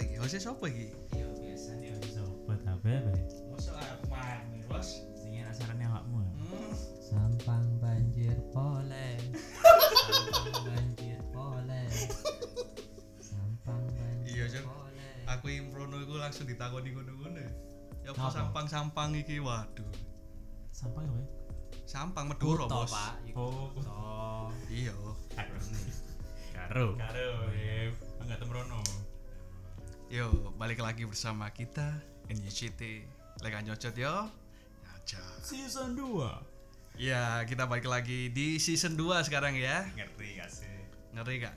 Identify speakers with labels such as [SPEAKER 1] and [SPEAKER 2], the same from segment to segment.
[SPEAKER 1] iki? Hose sapa iki?
[SPEAKER 2] Iya biasanya
[SPEAKER 3] Sobat apa ya, Bay?
[SPEAKER 2] Masa aman nih bos
[SPEAKER 3] Sing enak sarane awakmu. ya.
[SPEAKER 1] Hmm.
[SPEAKER 3] Sampang banjir oleh. Sampang banjir oleh. Sampang
[SPEAKER 1] Iya,
[SPEAKER 3] banjir
[SPEAKER 1] Cuk.
[SPEAKER 3] oleh.
[SPEAKER 1] Aku yang prono iku langsung ditakoni ngono-ngono. Ya apa
[SPEAKER 3] Apa?
[SPEAKER 1] sampang-sampang iki? Waduh.
[SPEAKER 3] Sampang apa ya?
[SPEAKER 1] Sampang Medoro,
[SPEAKER 3] Kuto,
[SPEAKER 1] Bos.
[SPEAKER 3] Pak. Iku
[SPEAKER 2] Oh,
[SPEAKER 3] kuto.
[SPEAKER 1] Iya.
[SPEAKER 3] Karo.
[SPEAKER 2] Karo Enggak temrono
[SPEAKER 1] Yo, balik lagi bersama kita NYCT. Lek nyocot yo. Nyocot.
[SPEAKER 2] Season 2
[SPEAKER 1] Ya, kita balik lagi di season 2 sekarang ya.
[SPEAKER 2] Ngerti gak sih?
[SPEAKER 1] Ngeri gak?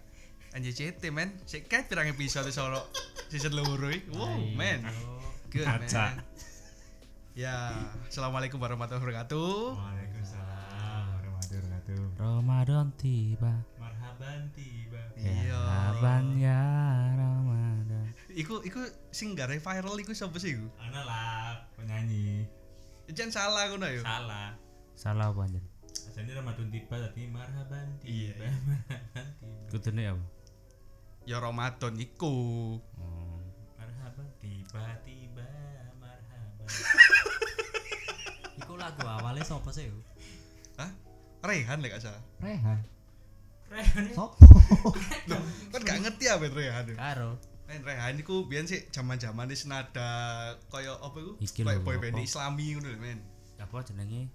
[SPEAKER 1] NJCT men, sik kae pirang episode solo season loro iki. Wow, men. Good
[SPEAKER 2] Kaca.
[SPEAKER 1] man. Ya, Assalamualaikum warahmatullahi wabarakatuh.
[SPEAKER 2] Waalaikumsalam Warahmatullahi wabarakatuh
[SPEAKER 3] Ramadan tiba.
[SPEAKER 2] Marhaban tiba
[SPEAKER 1] Iya.
[SPEAKER 3] Abang ya Ramadan.
[SPEAKER 1] Iku iku sing gare viral iku sapa sih iku?
[SPEAKER 2] Ana lah penyanyi
[SPEAKER 1] Jan salah ngono ya? yo.
[SPEAKER 2] Salah
[SPEAKER 3] Salah apa anjir?
[SPEAKER 2] Asalnya Ramadan tiba tadi marhaban
[SPEAKER 1] Iya,
[SPEAKER 2] tiba
[SPEAKER 1] iya.
[SPEAKER 2] Marhaban tiba
[SPEAKER 3] Kudune apa?
[SPEAKER 1] Ya Ramadan iku.
[SPEAKER 3] Oh.
[SPEAKER 2] Marhaban tiba-tiba marhaban
[SPEAKER 3] Iku lagu awalnya sapa sih? Yu?
[SPEAKER 1] Hah? Rehan lek gak salah.
[SPEAKER 3] Rehan.
[SPEAKER 2] Keren
[SPEAKER 3] Sopo?
[SPEAKER 1] Loh, kan gak ngerti apa Rehan. yo.
[SPEAKER 3] Karo.
[SPEAKER 1] Men Rehan iku biyen sik jaman-jaman wis nada koyo apa iku?
[SPEAKER 3] Iki
[SPEAKER 1] Koyo
[SPEAKER 3] lho,
[SPEAKER 1] boy
[SPEAKER 3] apa?
[SPEAKER 1] band Islami ngono lho men.
[SPEAKER 3] Apa jenenge?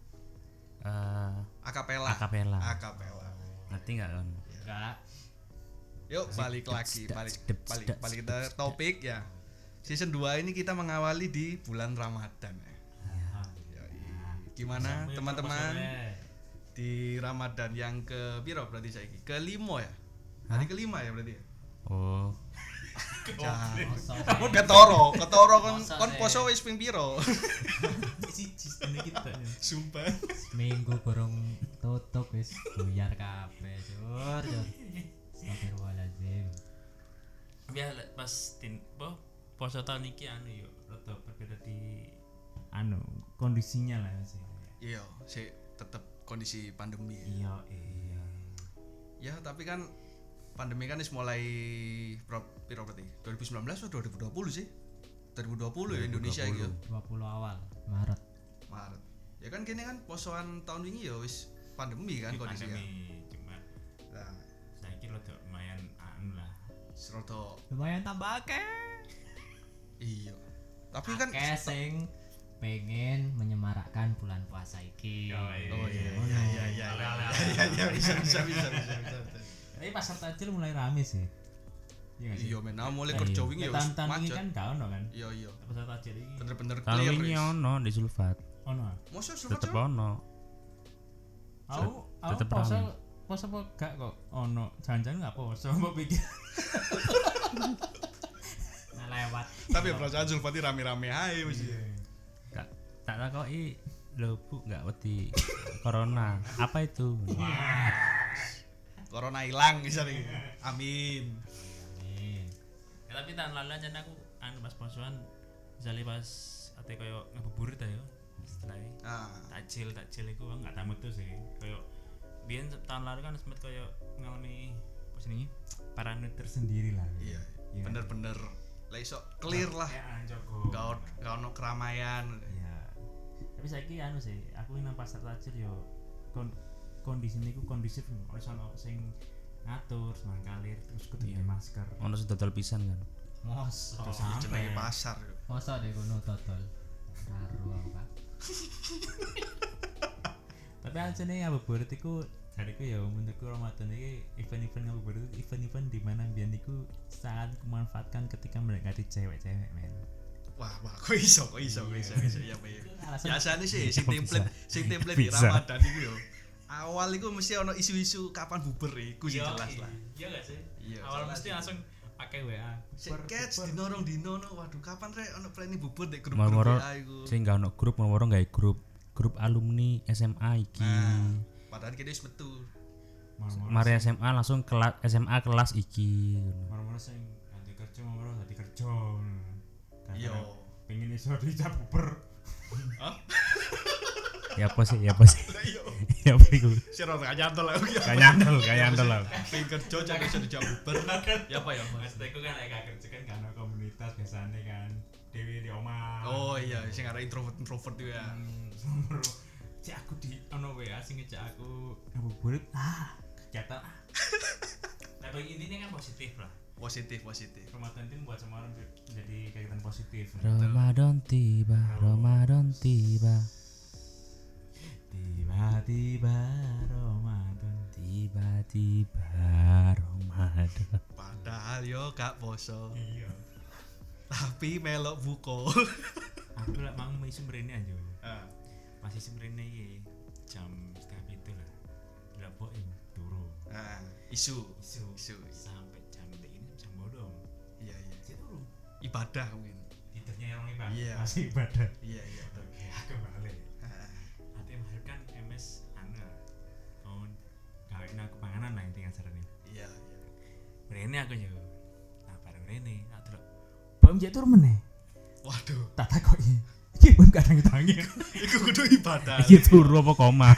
[SPEAKER 3] Eh,
[SPEAKER 1] Akapela.
[SPEAKER 3] akapela.
[SPEAKER 1] Akapela.
[SPEAKER 3] Ngerti enggak kan?
[SPEAKER 2] Enggak
[SPEAKER 1] Yuk balik lagi,
[SPEAKER 3] sedap,
[SPEAKER 1] balik
[SPEAKER 3] sedap,
[SPEAKER 1] balik
[SPEAKER 3] sedap,
[SPEAKER 1] balik ke topik ya. Season 2 ini kita mengawali di bulan Ramadan ya. Yoi. Gimana teman-teman di Ramadan yang ke piro berarti saiki? Kelima ya? Hari kelima ya berarti ya?
[SPEAKER 3] Oh.
[SPEAKER 1] Jangan.
[SPEAKER 3] Poso.
[SPEAKER 1] Kamu ketoro, ketoro kon kon poso wis ping piro?
[SPEAKER 2] Isi jisnya kita
[SPEAKER 1] Sumpah.
[SPEAKER 3] Minggu burung tutup wis buyar kabeh, Cur. Astagfirullahalazim.
[SPEAKER 2] Biar le- pas tin po poso tahun iki anu yo rada berbeda di anu kondisinya lah sih.
[SPEAKER 1] Iya, sih tetap kondisi pandemi ya.
[SPEAKER 2] Iya iya.
[SPEAKER 1] Ya, tapi kan pandemi kan is mulai pro- piro berarti? 2019 atau 2020 sih? 2020, ya Indonesia gitu.
[SPEAKER 3] 20 awal Maret.
[SPEAKER 1] Maret. Ya kan kini kan posoan tahun ini ya wis pandemi kan kondisinya.
[SPEAKER 2] Pandemi cuma
[SPEAKER 1] Nah,
[SPEAKER 2] saya kira rada lumayan anu lah.
[SPEAKER 1] seroto
[SPEAKER 3] Lumayan tambah akeh.
[SPEAKER 1] iya. Tapi kan
[SPEAKER 3] Akeh sing pengen menyemarakkan bulan puasa iki.
[SPEAKER 1] Oh iya iya iya iya. iya, Iya iya bisa bisa bisa bisa. bisa, bisa.
[SPEAKER 3] Tapi pasar takjil mulai rame sih. Iya nggak sih?
[SPEAKER 1] Iya men, nah, mulai kerja wingi ya wis
[SPEAKER 3] Tahun-tahun ini
[SPEAKER 1] macet.
[SPEAKER 3] kan gak ono kan?
[SPEAKER 1] Iya iya.
[SPEAKER 2] Pasal tajir iki
[SPEAKER 1] Bener-bener
[SPEAKER 4] Kalau
[SPEAKER 1] clear.
[SPEAKER 4] ini
[SPEAKER 1] wis. oh.
[SPEAKER 4] ono di sulfat,
[SPEAKER 2] ono. ah?
[SPEAKER 1] Mosok sumpah,
[SPEAKER 4] tetep
[SPEAKER 1] Cok?
[SPEAKER 4] ono.
[SPEAKER 2] Aku aku
[SPEAKER 4] tetep
[SPEAKER 2] poso
[SPEAKER 4] rame.
[SPEAKER 2] poso apa gak kok ono. Jangan-jangan gak poso mbok pikir.
[SPEAKER 3] Nah, lewat.
[SPEAKER 1] Tapi ya perasaan Zulfati rame-rame ae mesti.
[SPEAKER 4] Tak tak takoki lho Bu enggak wedi corona. Apa itu?
[SPEAKER 1] Corona hilang misalnya. Amin.
[SPEAKER 2] Ya, tapi tahun lalu aja aku anu pas posoan misalnya pas ate koyo ngabuburit ta yo. Setelah ini.
[SPEAKER 1] Ah,
[SPEAKER 2] takjil takjil itu aku nggak tamu tuh sih kayak biar tahun lalu kan sempat kayak ngalami apa sih ini paranoid tersendiri lah
[SPEAKER 1] iya.
[SPEAKER 2] Iya.
[SPEAKER 1] Bener-bener lah iso clear lah.
[SPEAKER 2] ya anjogo
[SPEAKER 1] Gak on- gak ono keramaian.
[SPEAKER 2] ya tapi saya anu sih aku ini nang pasar takjil yo kon kondisi ini ku kondisif oleh sono sing ngatur semangkalir terus kudu
[SPEAKER 1] Iya.
[SPEAKER 2] pakai masker
[SPEAKER 4] Ono sing dodol pisan kan.
[SPEAKER 3] Mosok.
[SPEAKER 2] Terus
[SPEAKER 1] Ini
[SPEAKER 2] sampe.
[SPEAKER 1] jenenge pasar. yo.
[SPEAKER 3] Mosok deh kono dodol. Karo aku, Pak.
[SPEAKER 2] tapi aja nih ngabuburit itu jariku ya menurutku Ramadan ini event-event ngabuburit itu event-event di mana biar niku sangat memanfaatkan ketika mendekati cewek-cewek men
[SPEAKER 1] Wah, wah, kok iso, kok iso, kok iso, kok iso, ya, Pak.
[SPEAKER 4] Iya,
[SPEAKER 3] Alasan
[SPEAKER 1] Biasanya sih, sing template, sing template di
[SPEAKER 4] Bisa.
[SPEAKER 1] Ramadan itu yo. Awal itu mesti ono isu-isu kapan buber iku sih jelas lah.
[SPEAKER 2] iya gak sih
[SPEAKER 1] Iya,
[SPEAKER 2] awal
[SPEAKER 1] jelas
[SPEAKER 2] mesti
[SPEAKER 1] sih.
[SPEAKER 2] langsung pakai WA
[SPEAKER 1] Sik catch di norong di nono, waduh kapan rek ono planning buber di grup grup
[SPEAKER 4] Moro-moro
[SPEAKER 1] WA iku.
[SPEAKER 4] sing enggak ono grup, moro-moro gawe grup. Grup alumni SMA iki.
[SPEAKER 1] Nah, padahal kita wis metu.
[SPEAKER 2] moro-moro
[SPEAKER 4] Mari SMA langsung kelas SMA kelas iki.
[SPEAKER 2] moro-moro sing ganti kerja moro dadi kerja
[SPEAKER 1] Yo. Iya.
[SPEAKER 2] pengen iso dicap buber
[SPEAKER 1] Hah?
[SPEAKER 4] ya apa sih ya apa sih
[SPEAKER 1] iya.
[SPEAKER 4] ya apa itu
[SPEAKER 1] Sih orang gak nyantol lah. Iya,
[SPEAKER 4] gak nyantol gak nyantol lah
[SPEAKER 1] Pengen kerja jadi jadi jam Uber. Ya apa ya? Mas?
[SPEAKER 2] Maksudnya aku kan lagi gak kerja kan karena komunitas biasanya kan Dewi di omah
[SPEAKER 1] Oh iya, sing arek introvert introvert itu ya.
[SPEAKER 2] Semeru Cek aku di ono WA sing ngejak aku ngabuburit ah kegiatan ah Tapi intinya kan positif lah
[SPEAKER 1] Positif, positif.
[SPEAKER 2] Ramadan itu buat semua orang menjadi kegiatan positif
[SPEAKER 4] Ramadan tiba Ramadan tiba
[SPEAKER 2] Tiba-tiba Ramadan
[SPEAKER 4] tiba-tiba Ramadan
[SPEAKER 1] Padahal yo gak poso,
[SPEAKER 2] Iya
[SPEAKER 1] tapi melok buko.
[SPEAKER 2] Aku lah mau isu merene aja
[SPEAKER 1] Ah,
[SPEAKER 2] Masih isu merene iki jam setengah itu lah Gila boing turu
[SPEAKER 1] ah, isu,
[SPEAKER 2] Isu
[SPEAKER 1] isu.
[SPEAKER 2] sampai jam ini jam bodong
[SPEAKER 1] Iya iya.
[SPEAKER 2] Cek turu
[SPEAKER 1] Ibadah mungkin.
[SPEAKER 2] tidurnya orang ibadah
[SPEAKER 1] Iya.
[SPEAKER 2] masih ibadah
[SPEAKER 1] Iya iya.
[SPEAKER 2] oke aku balik
[SPEAKER 1] Ah,
[SPEAKER 2] nanti Mahir kan MS Angel tahun gawein aku panganan lah intinya sarane
[SPEAKER 1] iya iya.
[SPEAKER 2] Rene aku yo nah bareng Rene tak delok Bom jek tur meneh
[SPEAKER 1] Waduh,
[SPEAKER 2] tak takoki iki bom kadang tangi
[SPEAKER 1] iku kudu ibadah.
[SPEAKER 4] iki turu apa koma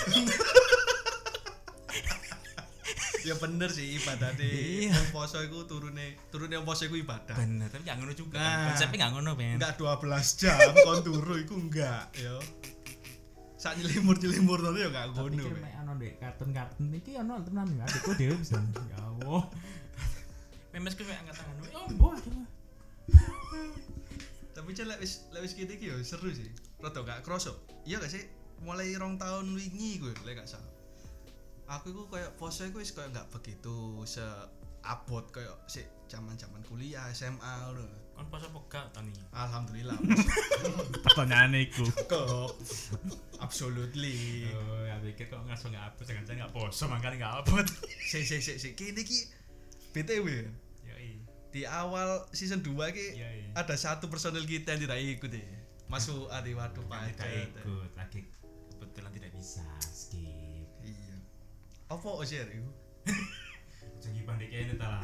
[SPEAKER 1] ya bener sih ibadah deh. Wong poso iku turune, turune wong poso iku ibadah.
[SPEAKER 2] bener tapi gak ngono juga
[SPEAKER 1] Nah.
[SPEAKER 2] konsepnya gak ngono ben
[SPEAKER 1] Enggak 12 jam kon turu iku enggak yo. Sak nyelimur-nyelimur to yo gak
[SPEAKER 2] tapi
[SPEAKER 1] ngono.
[SPEAKER 2] kan
[SPEAKER 1] weh.
[SPEAKER 2] mek ono ndek kartun-kartun iki ono tenan ya adikku dhewe bisa ya Allah memes ku angkat tangan oh boh
[SPEAKER 1] Tapi cek lek wis lek wis kene iki yo seru sih. Rada gak kroso. Iya gak sih? Mulai rong tahun wingi gue lek gak salah. Aku iku koyo poso iku wis koyo gak begitu se abot koyo sik zaman-zaman kuliah SMA ngono.
[SPEAKER 2] kon poso pegal ta nih
[SPEAKER 1] Alhamdulillah.
[SPEAKER 4] pertanyaan iku
[SPEAKER 1] Kok absolutely.
[SPEAKER 2] Oh, ya pikir kok langsung nggak hapus, jangan-jangan nggak bosan makanya nggak upload.
[SPEAKER 1] Sik sik sik sik kene iki BTW
[SPEAKER 2] Yoi,
[SPEAKER 1] di awal season 2 iki
[SPEAKER 2] yoi.
[SPEAKER 1] ada satu personil kita yang tidak ikut ya. Masuk adi waduh pacet.
[SPEAKER 2] Tidak ikut lagi kebetulan tidak bisa skip.
[SPEAKER 1] Iya. Apa Ozer iku?
[SPEAKER 2] Jangan banding kayak ini ta.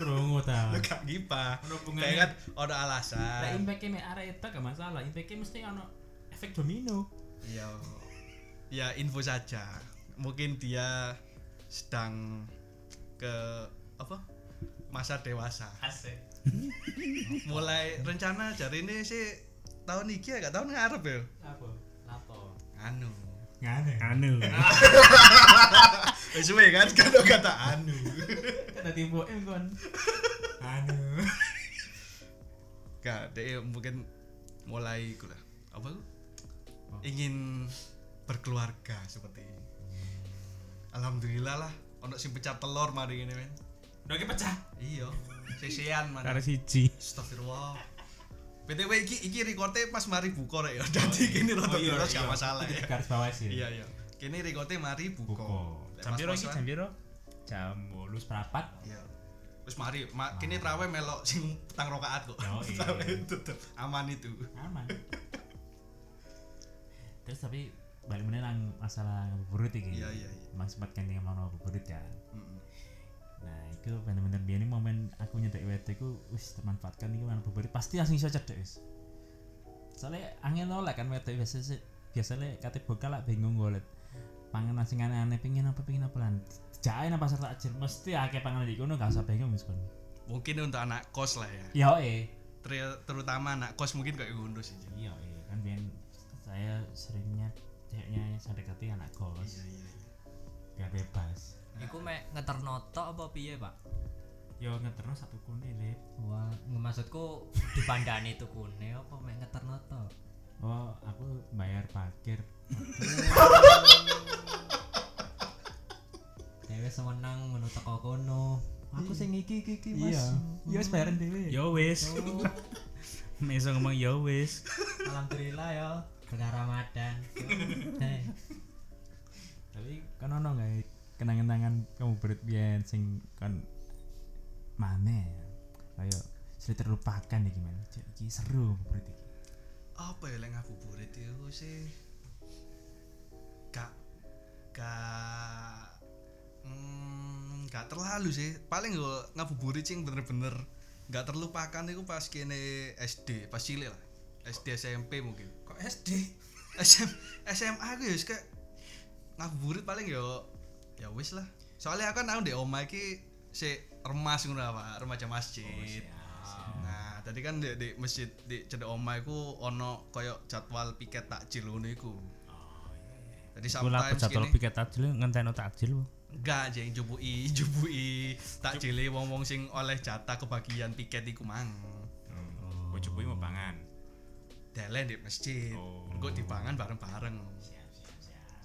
[SPEAKER 2] Kerungu ta.
[SPEAKER 1] Lu gak ngipah.
[SPEAKER 2] Ono
[SPEAKER 1] Kayak
[SPEAKER 2] hubungannya.
[SPEAKER 1] kan ada alasan.
[SPEAKER 2] Lah impact me arek itu gak masalah. Impact e mesti ono efek domino.
[SPEAKER 1] Iya. Ya info saja. Mungkin dia sedang ke apa? Masa dewasa.
[SPEAKER 2] Asik.
[SPEAKER 1] Mulai rencana jari ini sih tahun iki ya gak tahun ngarep ya.
[SPEAKER 2] Apa? Lato.
[SPEAKER 1] Anu.
[SPEAKER 2] Ngane.
[SPEAKER 4] anu
[SPEAKER 1] Wis suwe kan kata kata anu.
[SPEAKER 2] Kata tipu em kon. Anu.
[SPEAKER 1] Gak, dia mungkin mulai iku lah. Apa iku? Ingin berkeluarga seperti ini. Alhamdulillah lah ono sing pecah telur mari ngene men.
[SPEAKER 2] Doge pecah.
[SPEAKER 1] Iya, sesean man.
[SPEAKER 4] karena siji
[SPEAKER 1] Astagfirullah. PTW iki iki recordnya pas mari buka rek ya. Dadi kini rada
[SPEAKER 2] iya,
[SPEAKER 1] boros
[SPEAKER 2] iya.
[SPEAKER 1] gak masalah
[SPEAKER 2] Itu
[SPEAKER 1] ya.
[SPEAKER 2] Garis bawah sih.
[SPEAKER 1] Iya iya. Kini recordnya mari buka.
[SPEAKER 2] Buka.
[SPEAKER 1] Lek
[SPEAKER 4] jam
[SPEAKER 1] pas
[SPEAKER 4] piro iki
[SPEAKER 1] posoan,
[SPEAKER 4] jam piro jam
[SPEAKER 2] Bolus perapat.
[SPEAKER 1] Iya. Wis mari, ma kini trawe melok sing petang rakaat kok.
[SPEAKER 2] Oh, iya.
[SPEAKER 1] Trawe tutup. Aman itu.
[SPEAKER 2] aman terus tapi balik meneh nang masalah ngabuburit iki
[SPEAKER 1] Iya iya iya.
[SPEAKER 2] emang sempat kan yang mau ngabuburit kan
[SPEAKER 1] Mm-mm.
[SPEAKER 2] nah itu bener-bener biar momen aku nyetek WT ku wis termanfaatkan iki nang ngabuburit pasti langsung iso cedek wis soalnya angin nolak kan WT biasa biasanya kate bokal lah bingung golet panganan sing aneh-aneh pengen apa pengen apa lan jahe nang pasar takjil mesti akeh panganan di kono gak usah bingung wis kon
[SPEAKER 1] Mungkin untuk anak kos lah ya.
[SPEAKER 2] yo eh
[SPEAKER 1] Ter- terutama anak kos mungkin kayak ngono sih. Ji.
[SPEAKER 2] Iya, iya kan biar saya seringnya ceweknya yang saya dekati anak
[SPEAKER 1] Iya
[SPEAKER 2] kos
[SPEAKER 1] iya. iya.
[SPEAKER 2] gak bebas.
[SPEAKER 3] Iku mek ngeternoto apa piye, Pak?
[SPEAKER 2] Yo ngeterno satu kune lip.
[SPEAKER 3] Wah, maksudku dipandani tukune apa mek ngeternoto?
[SPEAKER 2] Oh, aku bayar parkir.
[SPEAKER 3] Dewe sewenang ngono teko kono. Aku sing iki iki iki, Mas.
[SPEAKER 2] Iya. Yo wis bayaran dhewe.
[SPEAKER 4] yo wis
[SPEAKER 1] Oh.
[SPEAKER 4] meso ngomong yo wis
[SPEAKER 3] Alhamdulillah ya, berkah Ramadan. Hei.
[SPEAKER 2] Tapi kan ono gak kenangan-kenangan kamu berit biyen sing kon mana ya? Ayo, sudah terlupakan iki men. Cek iki seru berit iki.
[SPEAKER 1] apa ya lek ngabuburit itu sih gak gak hmm, gak terlalu sih paling gue ngabuburit sing bener-bener gak terlupakan itu pas kene SD pas cilik lah SD SMP mungkin
[SPEAKER 2] Kok SD?
[SPEAKER 1] SM, SMA aku ya wis kayak ngabuburit paling yo ya wis lah. Soalnya aku kan aku di omah iki si remas ngono lah, Pak, remaja masjid. Nah, tadi kan di, di masjid di cedek omah iku ono koyo jadwal piket takjil ngono iku. Jadi
[SPEAKER 4] Kula
[SPEAKER 1] sometimes
[SPEAKER 4] pejatol
[SPEAKER 1] gini-
[SPEAKER 4] piket takjil ngenteni takjil. Bu.
[SPEAKER 1] Enggak aja yang jubuki, jubuki tak jeli wong-wong sing oleh jatah kebagian piket iku mang.
[SPEAKER 5] Oh. Ojo kuwi mau pangan.
[SPEAKER 1] Delen di masjid.
[SPEAKER 5] Oh.
[SPEAKER 1] Engko dipangan bareng-bareng.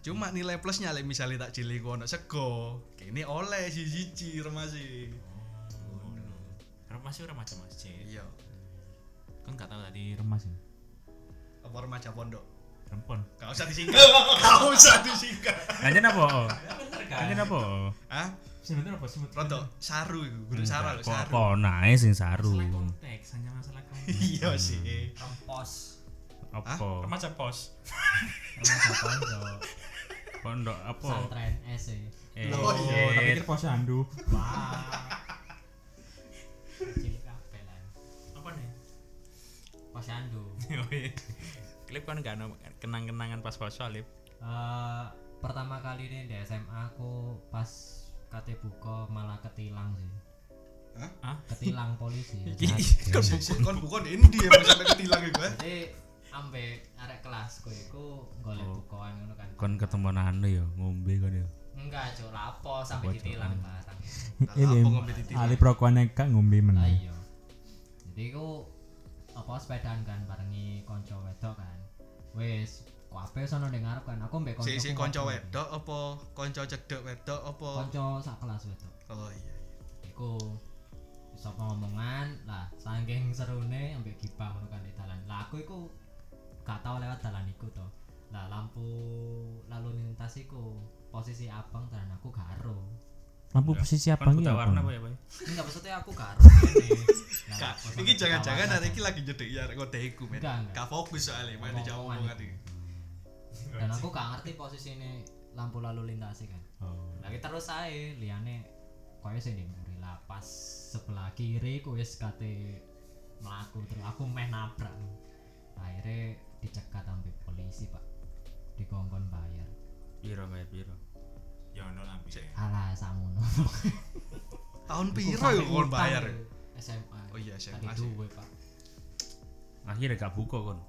[SPEAKER 1] Cuma nilai plusnya lek misalnya tak jeli ku ono sego, kene oleh siji-siji remasi.
[SPEAKER 5] Remaja remaja masjid.
[SPEAKER 1] Iya.
[SPEAKER 5] Kan gak tahu tadi
[SPEAKER 2] remas ya
[SPEAKER 1] Apa remaja pondok?
[SPEAKER 4] Rempon.
[SPEAKER 1] Gak usah disingkat. Gak usah disingkat.
[SPEAKER 4] Lanjen apa? Lanjen apa?
[SPEAKER 1] Hah?
[SPEAKER 2] sebenarnya apa sih
[SPEAKER 1] Rodo saru iku, guru saru lho,
[SPEAKER 4] Kok
[SPEAKER 1] saru.
[SPEAKER 4] kok nae sing saru.
[SPEAKER 3] Masalah konteks, hanya masalah konteks.
[SPEAKER 1] Iya sih.
[SPEAKER 3] Kompos.
[SPEAKER 4] Apa?
[SPEAKER 5] Remaja pos.
[SPEAKER 3] Remaja pondok.
[SPEAKER 4] Pondok apa?
[SPEAKER 3] Pesantren SE.
[SPEAKER 4] Eh,
[SPEAKER 1] Loh,
[SPEAKER 2] oh tak
[SPEAKER 1] iya.
[SPEAKER 4] shit.
[SPEAKER 2] pikir posyandu
[SPEAKER 3] Wah. Cilik kabeh lah.
[SPEAKER 5] Apa nih?
[SPEAKER 3] Posyandu.
[SPEAKER 5] iya. Klip kan gak ada kenang-kenangan pas poso lip.
[SPEAKER 3] Eh, pertama kali ini di SMA aku pas kate buka malah ketilang sih.
[SPEAKER 1] Hah?
[SPEAKER 5] Hah? Iya.
[SPEAKER 3] Ketilang polisi.
[SPEAKER 1] Kon bukan kon bukan ini ya sampai ketilang iku. eh.
[SPEAKER 3] Jadi ampe arek kelas kowe iku golek
[SPEAKER 5] Oh.
[SPEAKER 3] bukaan ngono kan.
[SPEAKER 4] Kon ketemu anu ya, ngombe kon ya.
[SPEAKER 3] Enggak, cuk, lapo sampe ditilang barang.
[SPEAKER 1] Tak
[SPEAKER 2] ini
[SPEAKER 1] lapung ngombe ditilang.
[SPEAKER 2] ali prokoane kak ngombe
[SPEAKER 3] Lah
[SPEAKER 2] meneh
[SPEAKER 3] Ah, iya. Jadi iku apa sepedaan kan barengi kanca wedok kan. Wis kabeh sono ning ngarep kan. Aku mbek kanca.
[SPEAKER 1] Si si konco wedok apa konco cedek wedok apa?
[SPEAKER 3] Kanca sak kelas wedok.
[SPEAKER 1] Oh iya.
[SPEAKER 3] Iku sapa ngomongan lah saking serune ambek gibah ngono kan di dalan. Lah aku iku gak tau lewat dalan iku to. Lah lampu lalu lintas iku posisi abang dalan aku gak ero.
[SPEAKER 2] lampu posisi
[SPEAKER 5] Iya,
[SPEAKER 2] abang
[SPEAKER 4] Kon buta
[SPEAKER 2] ya
[SPEAKER 4] warna apa ya, Boy?
[SPEAKER 3] Enggak maksudnya aku gak ero. Nah,
[SPEAKER 1] Kak,
[SPEAKER 3] aku
[SPEAKER 1] ini
[SPEAKER 3] sampe
[SPEAKER 1] jangan-jangan
[SPEAKER 3] ketawa.
[SPEAKER 1] hari ini lagi nyedek ya kode iku men.
[SPEAKER 3] Enggak, enggak.
[SPEAKER 1] Gak fokus soalnya, main di jauh
[SPEAKER 3] Omongan.
[SPEAKER 1] banget iki.
[SPEAKER 3] dan aku gak ngerti posisi ini lampu lalu lintas e, kan
[SPEAKER 4] Oh.
[SPEAKER 3] lagi terus aja liane koyo sing ning mburi lah pas sebelah kiri ku wis kate mlaku terus aku meh nabrak akhirnya dicekat sampai polisi pak dikongkon bayar
[SPEAKER 4] Piro bayar piro?
[SPEAKER 5] Ya ono lambe.
[SPEAKER 3] alah samono
[SPEAKER 1] Tahun piro
[SPEAKER 3] Sampai
[SPEAKER 1] yo kon
[SPEAKER 3] utang
[SPEAKER 1] bayar?
[SPEAKER 3] itu, SMA
[SPEAKER 1] Oh iya, SMA
[SPEAKER 3] Tadi
[SPEAKER 1] sih.
[SPEAKER 3] duwe, pak
[SPEAKER 4] Akhirnya gak buka kon.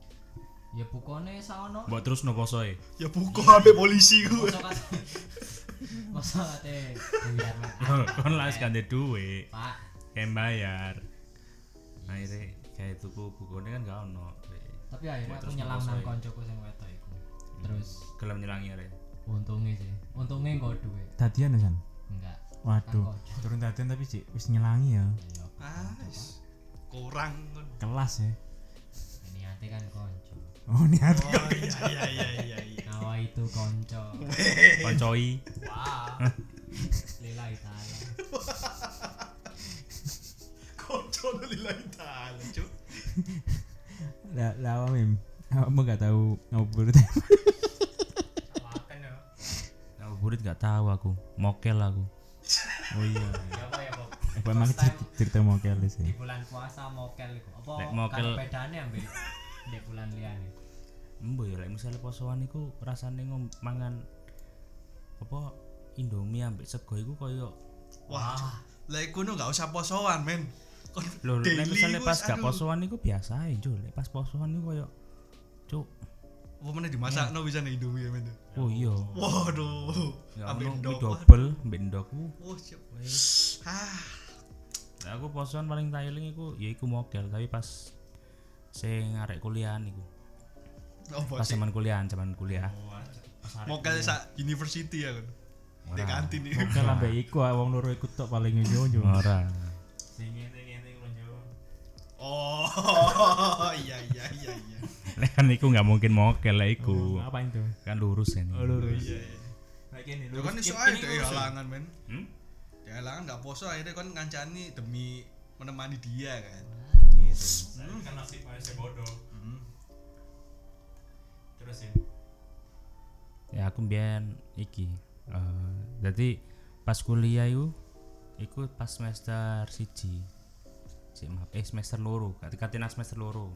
[SPEAKER 3] ya bukone saono
[SPEAKER 4] Mbok eh. terus no posoe.
[SPEAKER 1] Ya buka sampe polisi ku.
[SPEAKER 3] masa kate masa kate bayar Pak.
[SPEAKER 4] Kon las gak ndek duwe,
[SPEAKER 3] pak
[SPEAKER 4] kayak bayar. Akhirnya kayak tuku bukune kan gak ono.
[SPEAKER 3] tapi akhirnya
[SPEAKER 4] Mbok
[SPEAKER 3] aku
[SPEAKER 4] terus
[SPEAKER 3] nyelam
[SPEAKER 4] ngeposo
[SPEAKER 3] nang
[SPEAKER 4] ae.
[SPEAKER 3] koncoku sing wedok iku terus
[SPEAKER 4] Gelem nyelangi arek.
[SPEAKER 3] Untungnya sih, untungnya nggak duit,
[SPEAKER 2] dadian ya san
[SPEAKER 3] enggak.
[SPEAKER 2] waduh
[SPEAKER 3] Kan
[SPEAKER 2] turun dadian tapi sih wis nyelangi ya
[SPEAKER 3] Ya, apa,
[SPEAKER 1] Ah,
[SPEAKER 3] apa.
[SPEAKER 1] is- kurang Oh, kon.
[SPEAKER 2] kelas ya
[SPEAKER 3] Ini hati kan konco.
[SPEAKER 2] oh niat
[SPEAKER 1] Oh iya iya iya iya.
[SPEAKER 3] Nawa itu konco.
[SPEAKER 4] Koncoi.
[SPEAKER 3] Wah. Lila Itala.
[SPEAKER 1] Konco lillahi taala, cuk.
[SPEAKER 2] lah lah apa mim kamu gak tahu ngobrol teh
[SPEAKER 3] Makan ya.
[SPEAKER 4] Aku burit gak tahu aku. Mokel aku.
[SPEAKER 2] oh iya
[SPEAKER 3] Ya apa ya Bob?
[SPEAKER 2] apa emang
[SPEAKER 3] First time
[SPEAKER 2] cerita, cerita mau keles
[SPEAKER 3] di
[SPEAKER 2] ya
[SPEAKER 3] bulan puasa mokel iku. Apa
[SPEAKER 4] Lek mokel-
[SPEAKER 3] kan bedane ambil di bulan liyane.
[SPEAKER 4] Embo ya lek misale posoan iku rasane ngom mangan apa Indomie ambek sego iku koyo
[SPEAKER 1] Wah. cuk. Lah iku no gak usah posoan men. Kon
[SPEAKER 4] lho lek
[SPEAKER 1] daily
[SPEAKER 4] misale pas
[SPEAKER 1] wis,
[SPEAKER 4] gak
[SPEAKER 1] aduh.
[SPEAKER 4] posoan iku biasa ae, Cuk. Lek pas posoan iku koyo Cuk.
[SPEAKER 1] Apa meneh dimasakno bisa nih Indomie men.
[SPEAKER 4] Oh iya.
[SPEAKER 1] Waduh.
[SPEAKER 4] Ya
[SPEAKER 1] Ambil
[SPEAKER 4] ono mie
[SPEAKER 1] ndok.
[SPEAKER 4] double ambek ndokku.
[SPEAKER 1] Wah, Oh, cuk. Ah,
[SPEAKER 4] Lah, aku posoan paling tailing iku ya iku mokel tapi pas sing arek kuliah iku.
[SPEAKER 1] opo
[SPEAKER 4] Pas
[SPEAKER 1] sih?
[SPEAKER 4] zaman kuliah, zaman kuliah.
[SPEAKER 1] Mokel sak university ya kon. Di kantin iki.
[SPEAKER 2] Oke lah mbak iku ah, wong loro iku tok paling yo yo.
[SPEAKER 4] Ora.
[SPEAKER 1] Oh, iya iya iya iya.
[SPEAKER 4] Lek kan iku gak mungkin mokel lah iku.
[SPEAKER 2] Apa itu?
[SPEAKER 4] Kan lurus kan. iku.
[SPEAKER 2] Oh, Lurus.
[SPEAKER 1] Iya iya.
[SPEAKER 2] Lagi nih
[SPEAKER 1] Lu kan iso ae dek halangan men.
[SPEAKER 4] Hmm?
[SPEAKER 1] Ya halangan gak poso akhirnya kan ngancani demi menemani dia kan.
[SPEAKER 5] Kan nasib aja bodoh.
[SPEAKER 1] Hmm.
[SPEAKER 5] Terus ya.
[SPEAKER 4] ya aku mbiyen iki eh jadi pas kuliah iku iku pas semester siji Sik, maaf eh semester loro kati katina semester loro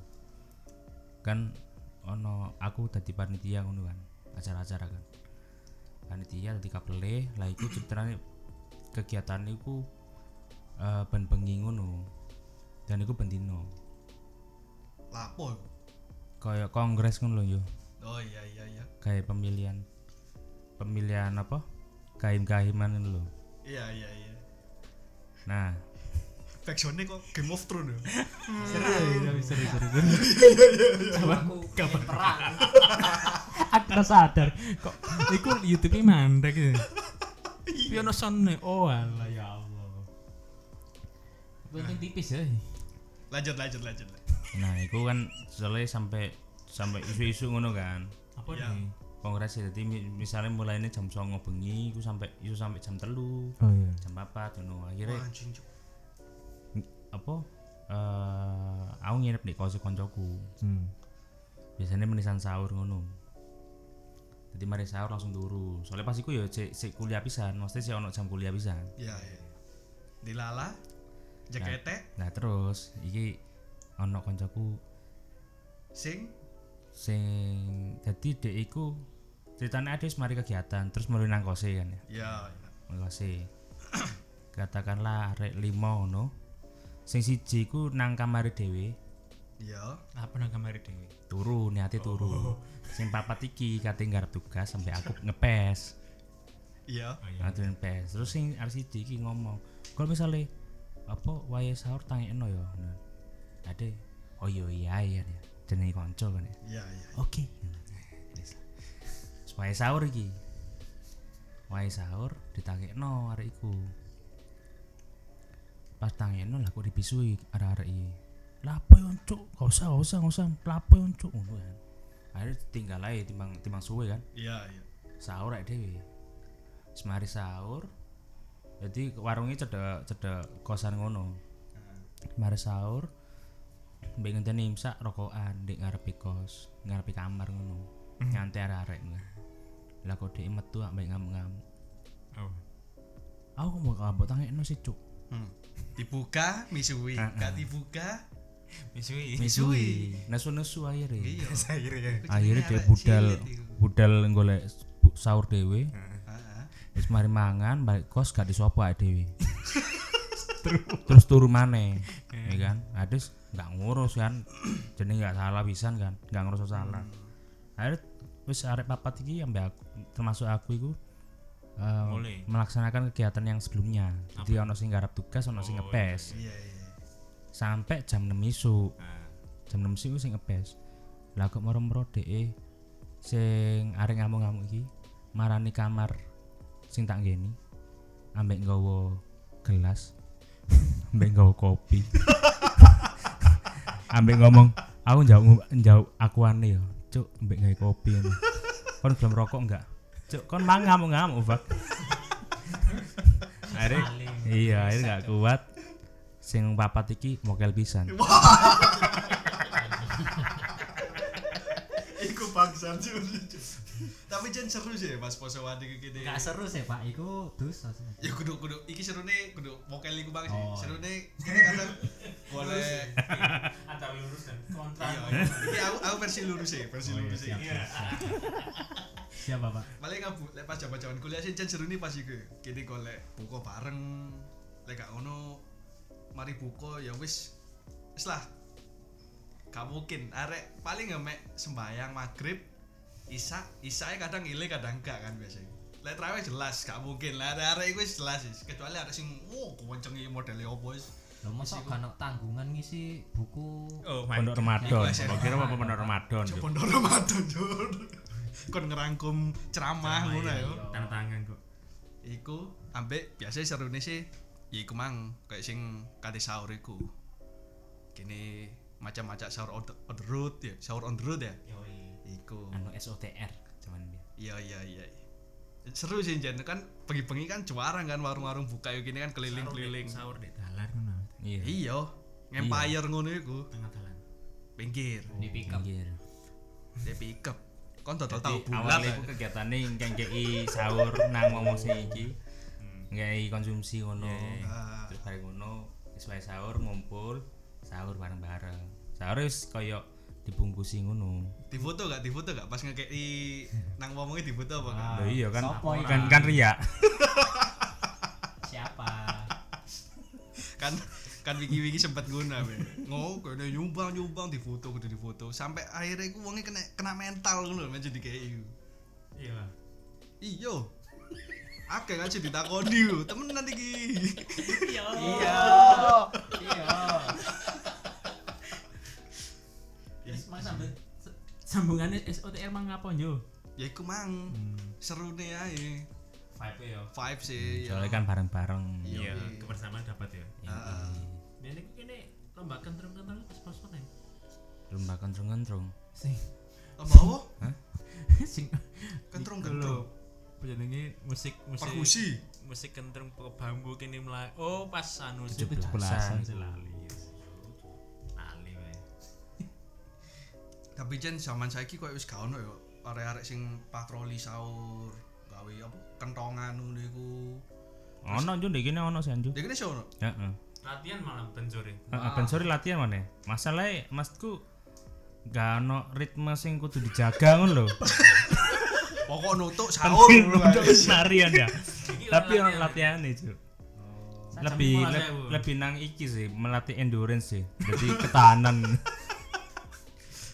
[SPEAKER 4] kan ono aku dadi panitia ngono kan acara-acara kan panitia dadi kapele lah iku ceritane kegiatan iku eh ben bengi ngono dan iku ben dino
[SPEAKER 1] lapo
[SPEAKER 4] kaya kongres ngono lho yo
[SPEAKER 1] oh iya iya iya
[SPEAKER 4] kayak pemilihan pemilihan apa kahim-kahiman ngono lho
[SPEAKER 1] iya iya iya
[SPEAKER 4] nah
[SPEAKER 1] factionnya kok Game of Thrones ya
[SPEAKER 2] seru seru
[SPEAKER 3] aku kapan perang
[SPEAKER 2] aku udah sadar kok iku YouTube ini mandek ya Piano Sonne oh alah ya Allah penting tipis
[SPEAKER 3] eh.
[SPEAKER 2] ya
[SPEAKER 1] lanjut lanjut lanjut
[SPEAKER 4] nah iku kan soalnya sampai sampai isu-isu ngono kan
[SPEAKER 2] apa
[SPEAKER 1] Iya.
[SPEAKER 2] nih
[SPEAKER 4] kongres ya jadi mi- misalnya mulainya jam songo bengi iku sampai isu sampai jam telu
[SPEAKER 2] oh iya
[SPEAKER 4] jam apa ngono akhirnya
[SPEAKER 1] Wah, anjing Cuk.
[SPEAKER 4] apa eh aku nginep di kos koncoku
[SPEAKER 2] hmm.
[SPEAKER 4] biasanya menisan sahur ngono jadi mari sahur langsung turu soalnya pas iku ya cek cek kuliah pisan mesti sih ono jam kuliah pisan
[SPEAKER 1] iya iya dilala jakete
[SPEAKER 4] nah terus iki ono koncoku
[SPEAKER 1] sing
[SPEAKER 4] sing jadi dek iku ceritanya ada mari kegiatan terus melu nang kose kan ya
[SPEAKER 1] ya iya.
[SPEAKER 4] Melase. Katakanlah arek lima ngono. Sing siji ku nang kamare dhewe,
[SPEAKER 1] iya
[SPEAKER 5] apa nang kamar dewi
[SPEAKER 4] turu niate turu. Sing papat iki kate ngarep tugas sampai aku ngepes.
[SPEAKER 1] Oh, iya
[SPEAKER 4] Ngaduin pes. Terus sing arek siji iki ngomong, "Kalau misale apa wayahe sahur tangekno ya." Ngono. Ade, "Oh iya iya iya." iya." Jenenge kanca kan ya.
[SPEAKER 1] iya iya
[SPEAKER 4] Oke. Wayahe sahur iki. Wayahe sahur ditangekno arek iku. Pas tangekno lah kok dibisui arek-arek iki. Lapo yon cuk, gak usah, gak usah, gak usah. Lapo yon cuk ngono kan. Akhirnya tinggal ae timbang timbang suwe kan.
[SPEAKER 1] iya iya
[SPEAKER 4] Sahur ae dhewe. Semari sahur. Jadi warungnya cedek cedek kosan ngono. Mari sahur. Mbek ngenteni imsak rokokan ndek ngarepe kos, ngarepe kamar ngono. Nganti arek-arek ngono. Lah kok dhek metu ambek ngamuk-ngamuk.
[SPEAKER 5] oh
[SPEAKER 4] Aku mau kabut tangekno sih cuk.
[SPEAKER 1] hmm. dibuka misui gak dibuka
[SPEAKER 5] misui
[SPEAKER 4] Misui. Nesu-nesu akhirnya.
[SPEAKER 1] iya
[SPEAKER 5] akhir ya
[SPEAKER 4] Akhirnya dia budal budal golek bu- sahur dhewe.
[SPEAKER 1] heeh
[SPEAKER 4] Wis mari mangan balik kos gak disapa ae dhewe. Terus turu maneh, ya kan? Adus nggak ngurus kan. Jadi nggak salah pisan kan, nggak ngurus salah. Akhirnya wis arek papat iki ambek aku termasuk aku iku eh,
[SPEAKER 5] Mulai.
[SPEAKER 4] melaksanakan kegiatan yang sebelumnya. Jadi ono sing garap tugas, ono sing ngepes.
[SPEAKER 1] iya iya
[SPEAKER 4] Sampai jam 6 isuk. Jam 6 isuk sing ngepes. Lah kok moro-moro dhek e sing arek ngamuk-ngamuk iki marani kamar sing tak nggeni ambek nggawa gelas ambek nggawa kopi ambek ngomong aku njauh njauh aku aneh ya cuk ambek gawe kopi ini kon belum rokok enggak cuk kon mang ngamuk ngamuk bak akhirnya iya akhirnya nggak kuat sing papat iki mokel pisan
[SPEAKER 1] Iku bangsa Cuk. Tapi jen seru sih Mas Posowati kayak gini.
[SPEAKER 3] nggak seru sih pak iku dosa sih
[SPEAKER 1] Ya kudu kudu iki serune kudu mokel iku bang sih.
[SPEAKER 3] Oh.
[SPEAKER 1] Serune kene kata boleh
[SPEAKER 5] antara lurus dan kontra
[SPEAKER 1] iya. iya. Iki aku aku versi lurus sih,
[SPEAKER 3] Oh,
[SPEAKER 1] versi
[SPEAKER 3] iya,
[SPEAKER 1] lurus sih.
[SPEAKER 3] siapa pak
[SPEAKER 1] Paling aku lek pas jaman-jaman kuliah sih jen serune pas iku. Kene golek buka bareng. Lek gak ngono mari buka ya wis wis lah. Gak mungkin arek paling ngemek sembayang maghrib Isa, Isa kadang ile kadang enggak kan biasanya. Lek trawe jelas, gak mungkin lah arek-arek iku wis jelas sih. Kecuali arek sing wow kuwencengi modele opo wis.
[SPEAKER 3] lo masa gak ono tanggungan ngisi buku
[SPEAKER 5] oh my
[SPEAKER 4] pondok
[SPEAKER 5] God.
[SPEAKER 4] Ramadan
[SPEAKER 1] Iya, iya.
[SPEAKER 4] kok kira apa pondok Ramadan Cuk?
[SPEAKER 1] Cepon Ramadan, Jur. Kon ngerangkum ceramah ngono ya.
[SPEAKER 5] tanda tangan kok
[SPEAKER 1] Iku ambek biasanya serune sih ya iku mang kayak sing kate sahur iku. Kene macam-macam sahur on the, on the road ya, sahur on the road ya. Iku.
[SPEAKER 4] anu SOTR cuman dia
[SPEAKER 1] Iya iya iya. Seru sih Jen kan pengi-pengi kan juara kan warung-warung buka yuk ini kan keliling-keliling.
[SPEAKER 5] sahur di dalan ngono
[SPEAKER 4] iya
[SPEAKER 1] Iya, Empire ngono iku,
[SPEAKER 5] tengah dalan
[SPEAKER 1] pinggir,
[SPEAKER 3] di pick up
[SPEAKER 4] pinggir.
[SPEAKER 1] dia pick up. Kon total tahu bulat. ya.
[SPEAKER 4] awalnya aku kegiatane ngkengkei sahur nang ngomong sing iki ngkei konsumsi ngono
[SPEAKER 1] Ah.
[SPEAKER 4] terus bareng ngono wis wae sahur ngumpul sahur bareng-bareng sahur wis koyo di dibungkusi ngono.
[SPEAKER 1] difoto gak difoto gak pas ngekei nang ngomongnya difoto apa gak
[SPEAKER 4] Lah iya kan
[SPEAKER 3] Sopo iki?
[SPEAKER 4] kan kan riak.
[SPEAKER 3] siapa
[SPEAKER 1] kan kan wiki wiki sempat guna be ngoh kena nyumbang nyumbang difoto kudu difoto sampai akhirnya gue wongnya kena kena mental ngono lho jadi kayak iyo
[SPEAKER 2] Iya lah.
[SPEAKER 1] iyo Oke kan sih ditakoni lho, temen nanti ki.
[SPEAKER 3] iya iya
[SPEAKER 6] Yes, mang sambil se- sambungannya SOTR mang ngapa yo?
[SPEAKER 1] Ya iku mang
[SPEAKER 4] Hmm.
[SPEAKER 1] seru nih ae.
[SPEAKER 2] Vibe ya.
[SPEAKER 1] Vibe sih ya.
[SPEAKER 4] Soalnya kan bareng-bareng.
[SPEAKER 1] Iya.
[SPEAKER 2] Iya, kebersamaan dapat ya.
[SPEAKER 1] Heeh.
[SPEAKER 2] Dan ini kene lomba kentrung-kentrung pas-pasan ya.
[SPEAKER 4] Lomba kentrung-kentrung.
[SPEAKER 6] Sing
[SPEAKER 1] Lomba apa?
[SPEAKER 6] sing
[SPEAKER 1] Kentrung
[SPEAKER 6] lho.
[SPEAKER 1] kentrung.
[SPEAKER 6] Jenenge musik musik
[SPEAKER 1] Perkusi.
[SPEAKER 2] Musik kentrung pokok bambu kene mulai. Oh, pas anu sih.
[SPEAKER 6] 17-an
[SPEAKER 4] 17-an.
[SPEAKER 6] sih lah.
[SPEAKER 2] Lali. Lali wae.
[SPEAKER 1] Tapi jen zaman saiki koyo wis gak ono ya arek-arek sing patroli sahur, gawe apa kentongan ngono iku.
[SPEAKER 4] Ono njuk ndek kene ono sih njuk.
[SPEAKER 1] Dek kene sih ono.
[SPEAKER 4] Heeh.
[SPEAKER 2] Latihan malam benjore.
[SPEAKER 4] Heeh, Ben Suri latihan mana? Masalahnya Masku gak ono ritme sing kudu dijaga ngono lho.
[SPEAKER 1] Pokok nutuk sahur.
[SPEAKER 4] Penting
[SPEAKER 1] ngono
[SPEAKER 4] untuk
[SPEAKER 1] ae.
[SPEAKER 4] senarian ya.
[SPEAKER 2] Iki
[SPEAKER 4] Tapi ono
[SPEAKER 2] latihan.
[SPEAKER 4] latihan itu.
[SPEAKER 2] Sajam
[SPEAKER 4] Lebih
[SPEAKER 2] pula
[SPEAKER 4] le-
[SPEAKER 2] sewu.
[SPEAKER 4] lebih nang iki sih, melatih endurance sih. Jadi ketahanan.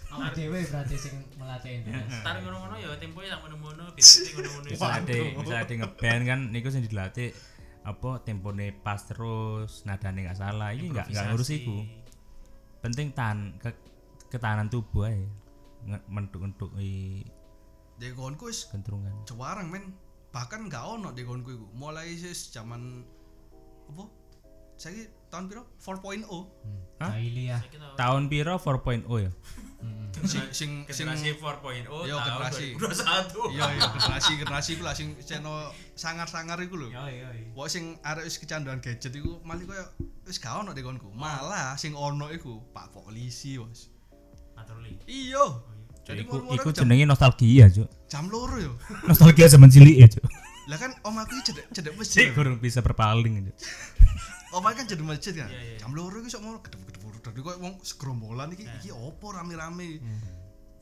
[SPEAKER 3] Awak dhewe berarti sing melatih endurance
[SPEAKER 2] Tar ngono-ngono ya tempo ya ngono-ngono, bisik ngono-ngono.
[SPEAKER 4] bisa ada bisa ada ngeband kan niku sing dilatih apa tempone pas terus nadane nggak salah ini nggak nggak ngurus iku penting tahan ke, ketahanan tubuh aja mentuk mentuk i
[SPEAKER 1] Dekonku wis
[SPEAKER 4] kentrungan
[SPEAKER 1] jarang men. Bahkan gak ono dekonku iku. Mulai sis zaman apa? Saiki tahun piro? oh. 4.0.
[SPEAKER 4] Hah?
[SPEAKER 3] Daily ya
[SPEAKER 4] tahun piro 4.0 ya
[SPEAKER 1] Sing sing sing
[SPEAKER 2] generasi 4.0
[SPEAKER 1] Iya,
[SPEAKER 2] tahun
[SPEAKER 1] generasi.
[SPEAKER 2] 2021.
[SPEAKER 1] Iya iya generasi generasi iku lah sing seno sangar-sangar iku lho.
[SPEAKER 2] Yo yo.
[SPEAKER 1] Wah sing arek wis kecanduan gadget iku malah koyo wis gak ono dekonku. Malah sing ono iku Pak Polisi, Bos.
[SPEAKER 2] Patroli.
[SPEAKER 1] Iya. Jadi
[SPEAKER 4] iku
[SPEAKER 1] ngono-ngono
[SPEAKER 4] iku
[SPEAKER 1] jam,
[SPEAKER 4] jenenge nostalgia cuk
[SPEAKER 1] jam loro yo.
[SPEAKER 4] nostalgia zaman cilik ya cuk
[SPEAKER 1] Lah kan omaku iki cedek cedek
[SPEAKER 4] sih
[SPEAKER 1] masjid.
[SPEAKER 4] kurang bisa berpaling cuk
[SPEAKER 1] Omaku kan cedek masjid kan.
[SPEAKER 2] Iya, iya.
[SPEAKER 1] Jam loro iki sok mau gedhe-gedhe dadi kok wong segerombolan iki iki opo rame-rame.
[SPEAKER 2] Hmm.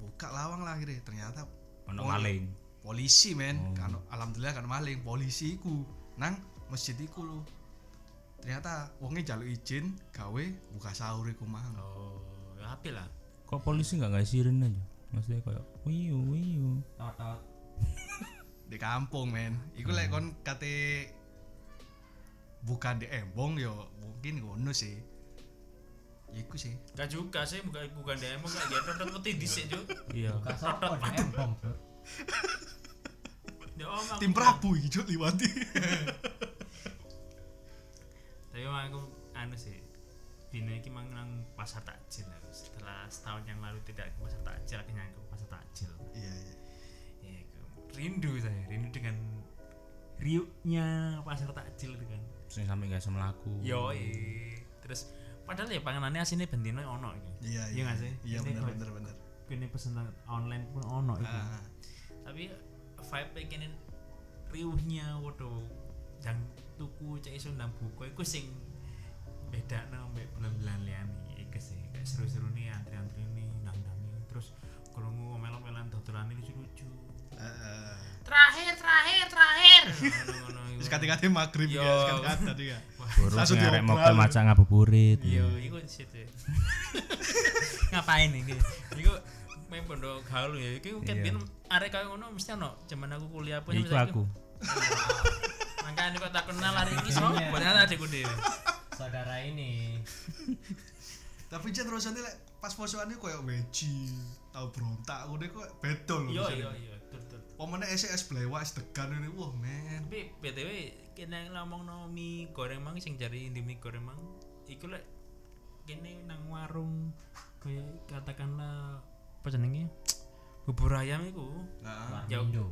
[SPEAKER 1] Buka lawang lah akhirnya ternyata
[SPEAKER 4] ono
[SPEAKER 1] wong-
[SPEAKER 4] maling
[SPEAKER 1] polisi men
[SPEAKER 2] Oh.
[SPEAKER 1] kan alhamdulillah kan maling polisi iku nang masjid iku lho ternyata wongnya jaluk izin gawe buka sahur iku mang
[SPEAKER 2] Oh, ya apik lah.
[SPEAKER 4] kok polisi nggak ngasih sirene aja maksudnya kayak wiu wiu
[SPEAKER 3] totot
[SPEAKER 1] di kampung men iku lek
[SPEAKER 2] Hmm.
[SPEAKER 1] kon kate bukan di embong yo mungkin ngono sih iku sih
[SPEAKER 2] Gak juga sih, bukan bukan demo gak ya tetep peti dhisik, Cuk.
[SPEAKER 4] iya
[SPEAKER 3] bukan sopo nek embong Bro.
[SPEAKER 2] Ya om aku.
[SPEAKER 1] tim Prabu iki Cuk, liwati
[SPEAKER 2] Tapi om aku anu sih. Dina iki mang nang pasar takjil aku. Setelah setahun yang lalu tidak ke pasar takjil, akhirnya aku ke pasar takjil.
[SPEAKER 1] iya iya
[SPEAKER 2] Ya, aku rindu saya, rindu dengan riuknya pasar takjil itu kan.
[SPEAKER 4] sing sampe nggak bisa
[SPEAKER 1] Oh.
[SPEAKER 4] melaku
[SPEAKER 2] Yoi. Terus padahal ya panganannya asine bendino ono iki.
[SPEAKER 1] iya
[SPEAKER 2] Iya nggak sih?
[SPEAKER 1] iya
[SPEAKER 2] Ini
[SPEAKER 1] bener
[SPEAKER 2] kok-
[SPEAKER 1] bener bener
[SPEAKER 6] Kene pesenan online pun ono iku.
[SPEAKER 1] Ah,
[SPEAKER 2] tapi vibe kene riuhnya waduh yang tuku cek iso ndang buku iku sing beda mbek bulan-bulan liyane iku sih kayak seru-seru nih antri-antri nih nandangin terus krungu omel-omelan dodolane lucu-lucu
[SPEAKER 1] ah. heeh.
[SPEAKER 2] terakhir terakhir terakhir ngono-ngono iku.
[SPEAKER 1] Terus kate-kate maghrib ya,
[SPEAKER 2] Yo.
[SPEAKER 1] terus kate-kate tadi ya.
[SPEAKER 4] Burung
[SPEAKER 1] Langsung
[SPEAKER 4] sing arek
[SPEAKER 1] diobral.
[SPEAKER 4] mokel maca ngabuburit.
[SPEAKER 2] Iya, iku shit ya. Ngapain ini? Iku main pondok gaul ya. Iku kan
[SPEAKER 4] Iya.
[SPEAKER 2] biyen arek kaya ngono mesti ono zaman aku kuliah pun.
[SPEAKER 4] Ya iku aku.
[SPEAKER 2] Makanya kok tak kenal hari ini semua
[SPEAKER 3] Iya.
[SPEAKER 2] buatnya adikku dhewe.
[SPEAKER 3] saudara ini
[SPEAKER 1] Tapi jan rasane lek pas posoane koyo weci, tau berontak ngene kok beda lho.
[SPEAKER 2] Iya,
[SPEAKER 1] rasane.
[SPEAKER 2] iya, iya. Betul, betul.
[SPEAKER 1] Pemene SES blewak es degan ngene wah men.
[SPEAKER 2] Tapi BTW kene ngomong no mie goreng mang sing jari Indomie goreng mang iku lek kene nang warung kaya katakanlah apa jenenge? Bubur ayam iku
[SPEAKER 1] Nah,
[SPEAKER 2] jauh
[SPEAKER 3] Indo.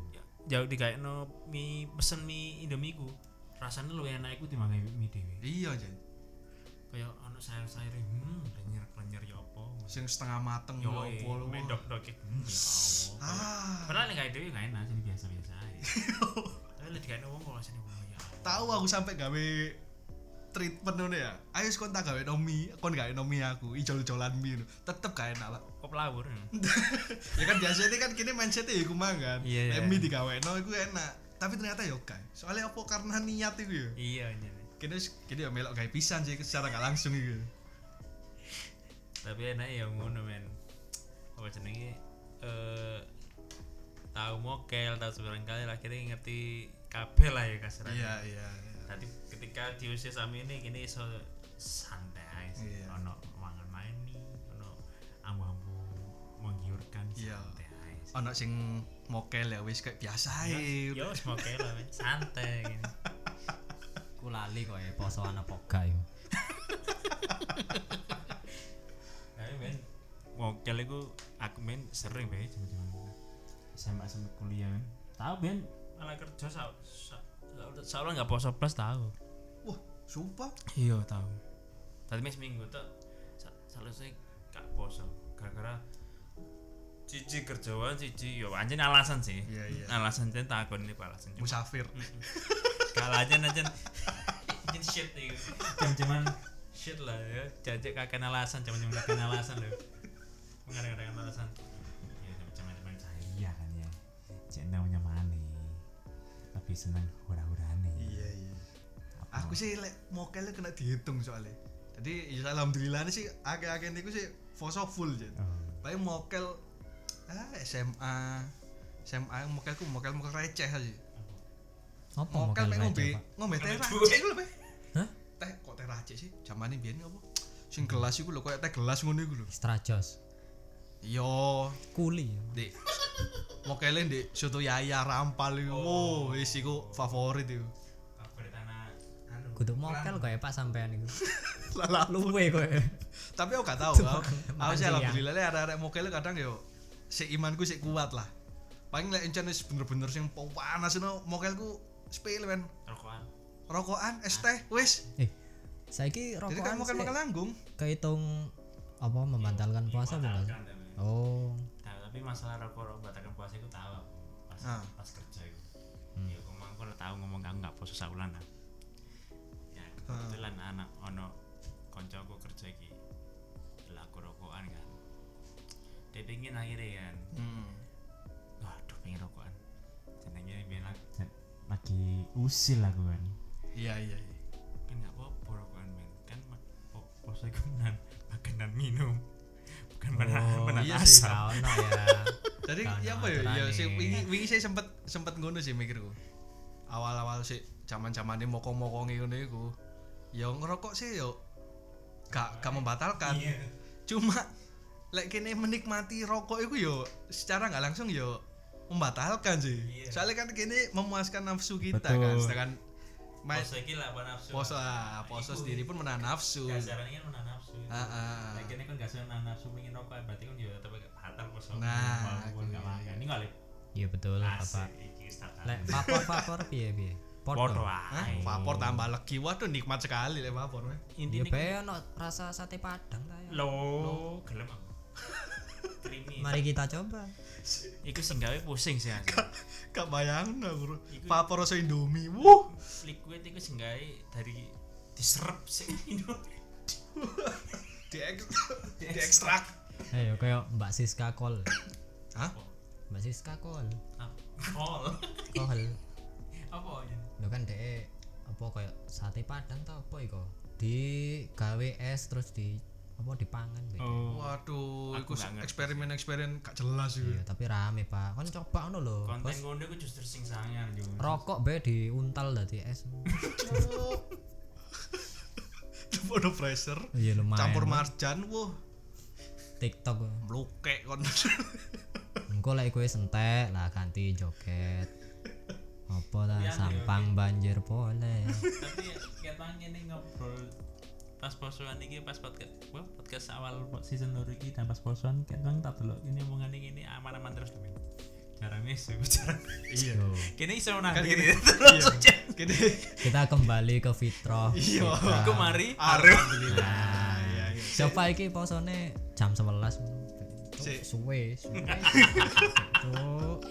[SPEAKER 2] jauh tiga no mie pesen mie indomie ku rasanya lu enak iku timbang mie, mie dewe
[SPEAKER 1] iya jan.
[SPEAKER 2] kaya ono sayur sayur hmm lenyer lenyer ya apa
[SPEAKER 1] Sing setengah mateng
[SPEAKER 2] yo
[SPEAKER 1] ya apa lho.
[SPEAKER 2] medok dok hmm ya Allah
[SPEAKER 1] Ah,
[SPEAKER 2] padahal nek dewe gak enak sih biasa biasa aja tapi lek gak wong kok rasane wong ya Allah.
[SPEAKER 1] tahu aku sampai gawe treatment ngono ya. Ayo wis kon tak gawe nomi, kon gawe nomi aku, ijol-ijolan mi ngono. Tetep gak enak, Pak.
[SPEAKER 2] kop lawur
[SPEAKER 1] ya kan biasanya kan kini mindsetnya ya kumang kan.
[SPEAKER 2] Iya, iya.
[SPEAKER 1] Emi digaweno iku enak. Tapi ternyata yo gak. Soalnya apa karena niat iku ya.
[SPEAKER 2] iya iya
[SPEAKER 1] Kini wis- kini ya melok gawe pisan sih secara gak langsung iku. ya.
[SPEAKER 2] tapi enak ya ngono men apa jenenge eh tahu mokel tahu sebarang kali lah, akhirnya ngerti kabeh lah ya kasarannya
[SPEAKER 1] Iya, iya, iya.
[SPEAKER 2] tadi ketika di usia sami ini gini iso santai
[SPEAKER 1] Iya.
[SPEAKER 2] ono mangan main nih ono ambu-ambu menggiurkan
[SPEAKER 1] Iya.
[SPEAKER 2] santai aja.
[SPEAKER 1] Ono sing mokel ya wis kayak biasa ae.
[SPEAKER 2] yo semoga lah men. santai gini
[SPEAKER 3] Ku lali kok ya poso ana poga yo.
[SPEAKER 2] tapi men mokel itu aku men sering be cuman
[SPEAKER 4] SMA sampai kuliah men tahu ben
[SPEAKER 2] malah kerja sa sa seorang nggak poso plus tahu
[SPEAKER 1] Wah, sumpah.
[SPEAKER 2] iya tahu tapi mes minggu tuh seharusnya gak poso gara-gara cici kerjaan cici yo anjir alasan sih
[SPEAKER 1] Iya, iya.
[SPEAKER 2] alasan cinta aku ini apa alasan cuma
[SPEAKER 1] Musafir.
[SPEAKER 2] kalah aja aja Ini shit nih
[SPEAKER 4] cuman
[SPEAKER 2] shit lah ya jajak kakek alasan cuman cuman kakek alasan loh mengadang-adang alasan ya cuman cuman saya
[SPEAKER 4] iya kan ya cek namanya mana lebih senang hura-hurane
[SPEAKER 1] Iya, iya.
[SPEAKER 4] Apa-
[SPEAKER 1] Aku sih lek mokelnya kena dihitung soalnya. Jadi ya alhamdulillah sih agak-agak niku sih foso full jadi.
[SPEAKER 4] Oh.
[SPEAKER 1] Paling mokel ah, SMA SMA mokel ku mokel mokel receh aja.
[SPEAKER 3] Apa
[SPEAKER 1] Mokel Oh, kan mek ngombe
[SPEAKER 3] receh, Pak?
[SPEAKER 1] ngombe teh
[SPEAKER 2] Ngombe
[SPEAKER 1] racik iku lho, Pak.
[SPEAKER 3] Hah?
[SPEAKER 1] Teh kok teh racik sih? Zamane biyen apa? Sing gelas iku lho koyo teh gelas ngono iku lho.
[SPEAKER 3] Strajos.
[SPEAKER 1] Yo,
[SPEAKER 3] Kuli.
[SPEAKER 1] Dik. Mokele Dik soto yaya rampal iku. Oh, wis iku favorit iku.
[SPEAKER 2] favorit anak anu
[SPEAKER 3] Kudu mokel kok ya Pak sampean iku.
[SPEAKER 1] Lala.
[SPEAKER 3] Luwe kok ya.
[SPEAKER 1] Tapi aku gak tahu. Aku,
[SPEAKER 3] Cuma
[SPEAKER 1] aku
[SPEAKER 3] makan
[SPEAKER 1] sih
[SPEAKER 3] siang.
[SPEAKER 1] alhamdulillah lek arek-arek mokele kadang yo sik imanku sik kuat lah. Paling lek encen wis bener-bener sing panas ngono mokelku sepele men.
[SPEAKER 2] rokokan
[SPEAKER 1] rokokan es teh wis
[SPEAKER 3] Eh. Saiki
[SPEAKER 1] jadi kamu
[SPEAKER 3] rokokan
[SPEAKER 1] makan makan
[SPEAKER 3] sih
[SPEAKER 1] langgung
[SPEAKER 3] kehitung apa membatalkan puasa bukan?
[SPEAKER 2] Dibatalkan, tapi.
[SPEAKER 3] Oh,
[SPEAKER 2] Nah, tapi masalah rokok rokok batalkan puasa itu tahu aku pas
[SPEAKER 1] Ah.
[SPEAKER 2] pas kerja itu
[SPEAKER 1] Hmm.
[SPEAKER 2] ya aku mau aku udah tahu ngomong aku nggak puasa saulan lah ya kebetulan anak ono konco aku kerja iki laku rokokan kan dia pingin akhirnya kan
[SPEAKER 1] Hmm.
[SPEAKER 2] waduh pengen rokokan jenenge biar aku
[SPEAKER 4] Cek, lagi usil aku kan
[SPEAKER 1] iya iya iya
[SPEAKER 2] kan nggak apa-apa rokokan men kan ma- po- puasa itu menahan makan dan minum bukan
[SPEAKER 3] Oh,
[SPEAKER 2] menahan menahan
[SPEAKER 1] iya sih.
[SPEAKER 2] asam
[SPEAKER 3] ono ya.
[SPEAKER 1] jadi
[SPEAKER 3] Kan
[SPEAKER 1] ya apa ya
[SPEAKER 3] aturan
[SPEAKER 1] ya sih
[SPEAKER 3] nih.
[SPEAKER 1] wingi wingi saya sempet sempet ngono sih mikirku awal awal sih zaman zaman ini mokong mokong ngono iku ya ngerokok sih yo gak gak membatalkan cuma lek kene menikmati rokok itu yo secara nggak langsung yo membatalkan sih soalnya kan kene memuaskan nafsu kita kan
[SPEAKER 4] Betul.
[SPEAKER 1] sedangkan ma-
[SPEAKER 2] puasa iki lah apa nafsu
[SPEAKER 1] poso ah, poso
[SPEAKER 2] Iku-
[SPEAKER 1] sendiri pun menahan nafsu
[SPEAKER 2] Kasarannya kan menahan nafsu.
[SPEAKER 1] Ah, ah.
[SPEAKER 2] Nah, kene kan gak usah menahan nafsu pengen rokok berarti kan juga tetep gak batal kok soalnya
[SPEAKER 1] Nah,
[SPEAKER 2] walaupun gak makan. Ini kali
[SPEAKER 3] Iya betul Bapak.
[SPEAKER 2] asik iki start.
[SPEAKER 3] Lek vapor vapor piye piye?
[SPEAKER 2] foto
[SPEAKER 3] Podo. ah.
[SPEAKER 1] Hah?
[SPEAKER 2] ae.
[SPEAKER 1] Vapor tambah legi. Waduh nikmat sekali lek vapor. weh.
[SPEAKER 3] Ya
[SPEAKER 2] Intine
[SPEAKER 3] bae ono rasa sate padang lah iya. ya.
[SPEAKER 2] lo kan, gelem aku. Creamy.
[SPEAKER 3] Mari kita coba.
[SPEAKER 2] Iku sing gawe pusing sih. asli.
[SPEAKER 1] Gak bayangno, Bro.
[SPEAKER 2] Iku-
[SPEAKER 1] Vapor rasa Indomie. Wuh.
[SPEAKER 2] Liquid iku sing gawe dari diserap sih Indo.
[SPEAKER 1] Di diekstrak.
[SPEAKER 3] Ayo kayak Mbak Siska Kol.
[SPEAKER 1] Hah?
[SPEAKER 3] Mbak Siska Kol.
[SPEAKER 2] Ah, Kol.
[SPEAKER 3] Kol.
[SPEAKER 2] Apa ya?
[SPEAKER 3] Lho kan dek apa kayak sate padang tau apa iku? Di gawe es terus di apa dipangan
[SPEAKER 2] Oh.
[SPEAKER 3] gitu.
[SPEAKER 1] Oh. Waduh,
[SPEAKER 2] Aku
[SPEAKER 1] iku
[SPEAKER 2] gak ngerti
[SPEAKER 1] eksperimen-eksperimen gak jelas iku.
[SPEAKER 3] Iya, tapi rame, Pak. Kan coba ono lho.
[SPEAKER 2] Konten
[SPEAKER 3] Terus
[SPEAKER 2] ngono iku justru sing sangar yo.
[SPEAKER 3] rokok bae diuntal dadi es.
[SPEAKER 1] Podo pressure.
[SPEAKER 3] Iya lumayan.
[SPEAKER 1] Campur marjan, wuh.
[SPEAKER 3] TikTok.
[SPEAKER 1] Mlukek
[SPEAKER 2] Iya,
[SPEAKER 1] kon.
[SPEAKER 3] Engko lek kowe sentek lah ganti joget. Apa ta
[SPEAKER 2] Yang
[SPEAKER 3] sampang banjir boleh.
[SPEAKER 2] tapi katanya ini ngobrol pas posoan ini pas podcast wah podcast awal season loro ini dan pas posoan katanya tak delok ini omongan ini aman-aman terus men cara mesu cara
[SPEAKER 1] Iya.
[SPEAKER 3] Yo.
[SPEAKER 2] kini iso
[SPEAKER 1] Kan
[SPEAKER 2] nang
[SPEAKER 1] gini.
[SPEAKER 2] kini terus aja
[SPEAKER 1] Gini.
[SPEAKER 3] Kita kembali ke fitrah.
[SPEAKER 1] Iya.
[SPEAKER 2] aku mari
[SPEAKER 1] Alhamdulillah. Iya, iya.
[SPEAKER 3] Nah, Coba iki posone jam 11.
[SPEAKER 1] Sik.
[SPEAKER 3] Suwe, suwe. Cuk.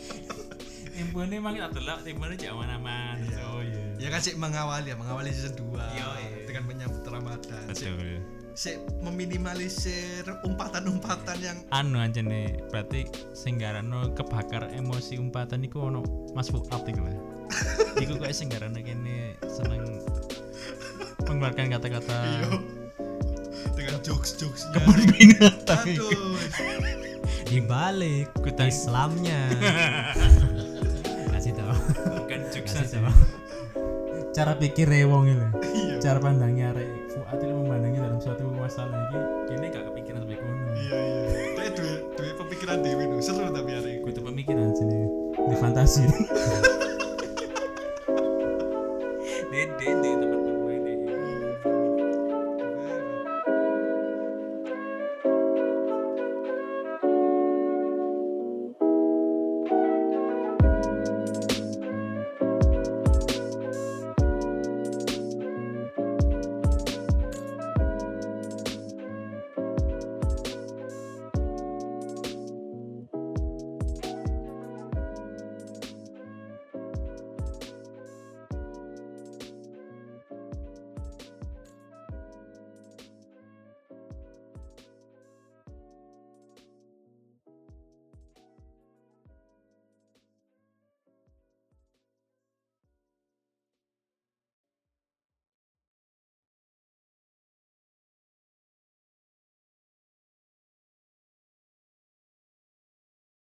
[SPEAKER 2] timbune mang tak delok timbune cek aman-aman terus oh iya
[SPEAKER 1] Ya kan sih mengawali ya, mengawali season 2.
[SPEAKER 2] Iya, iya.
[SPEAKER 1] Dengan akan menyambut Ramadan. Sik-
[SPEAKER 2] betul
[SPEAKER 1] Sik meminimalisir umpatan-umpatan yang
[SPEAKER 2] anu aja nih berarti singgarano kebakar emosi umpatan iku ono mas Fuad iku lah iku kok singgarano kene seneng mengeluarkan kata-kata
[SPEAKER 1] dengan jokes-jokesnya.
[SPEAKER 2] kebun binatang iku.
[SPEAKER 1] Aduh.
[SPEAKER 3] dibalik
[SPEAKER 2] Kutai.
[SPEAKER 3] Islamnya kasih tau
[SPEAKER 5] bukan jokes
[SPEAKER 3] kasih
[SPEAKER 5] aja.
[SPEAKER 3] tau
[SPEAKER 2] Nah, cara pikir ya, wong itu
[SPEAKER 1] Iya.
[SPEAKER 2] cara pandangnya arek Fuad itu memandangnya dalam suatu masalah ini kene gak kepikiran sampai kono
[SPEAKER 1] Iya iya. Tapi duwe duwe pemikiran dewe lho, seru tapi hari iku.
[SPEAKER 2] kudu pemikiran sini di fantasi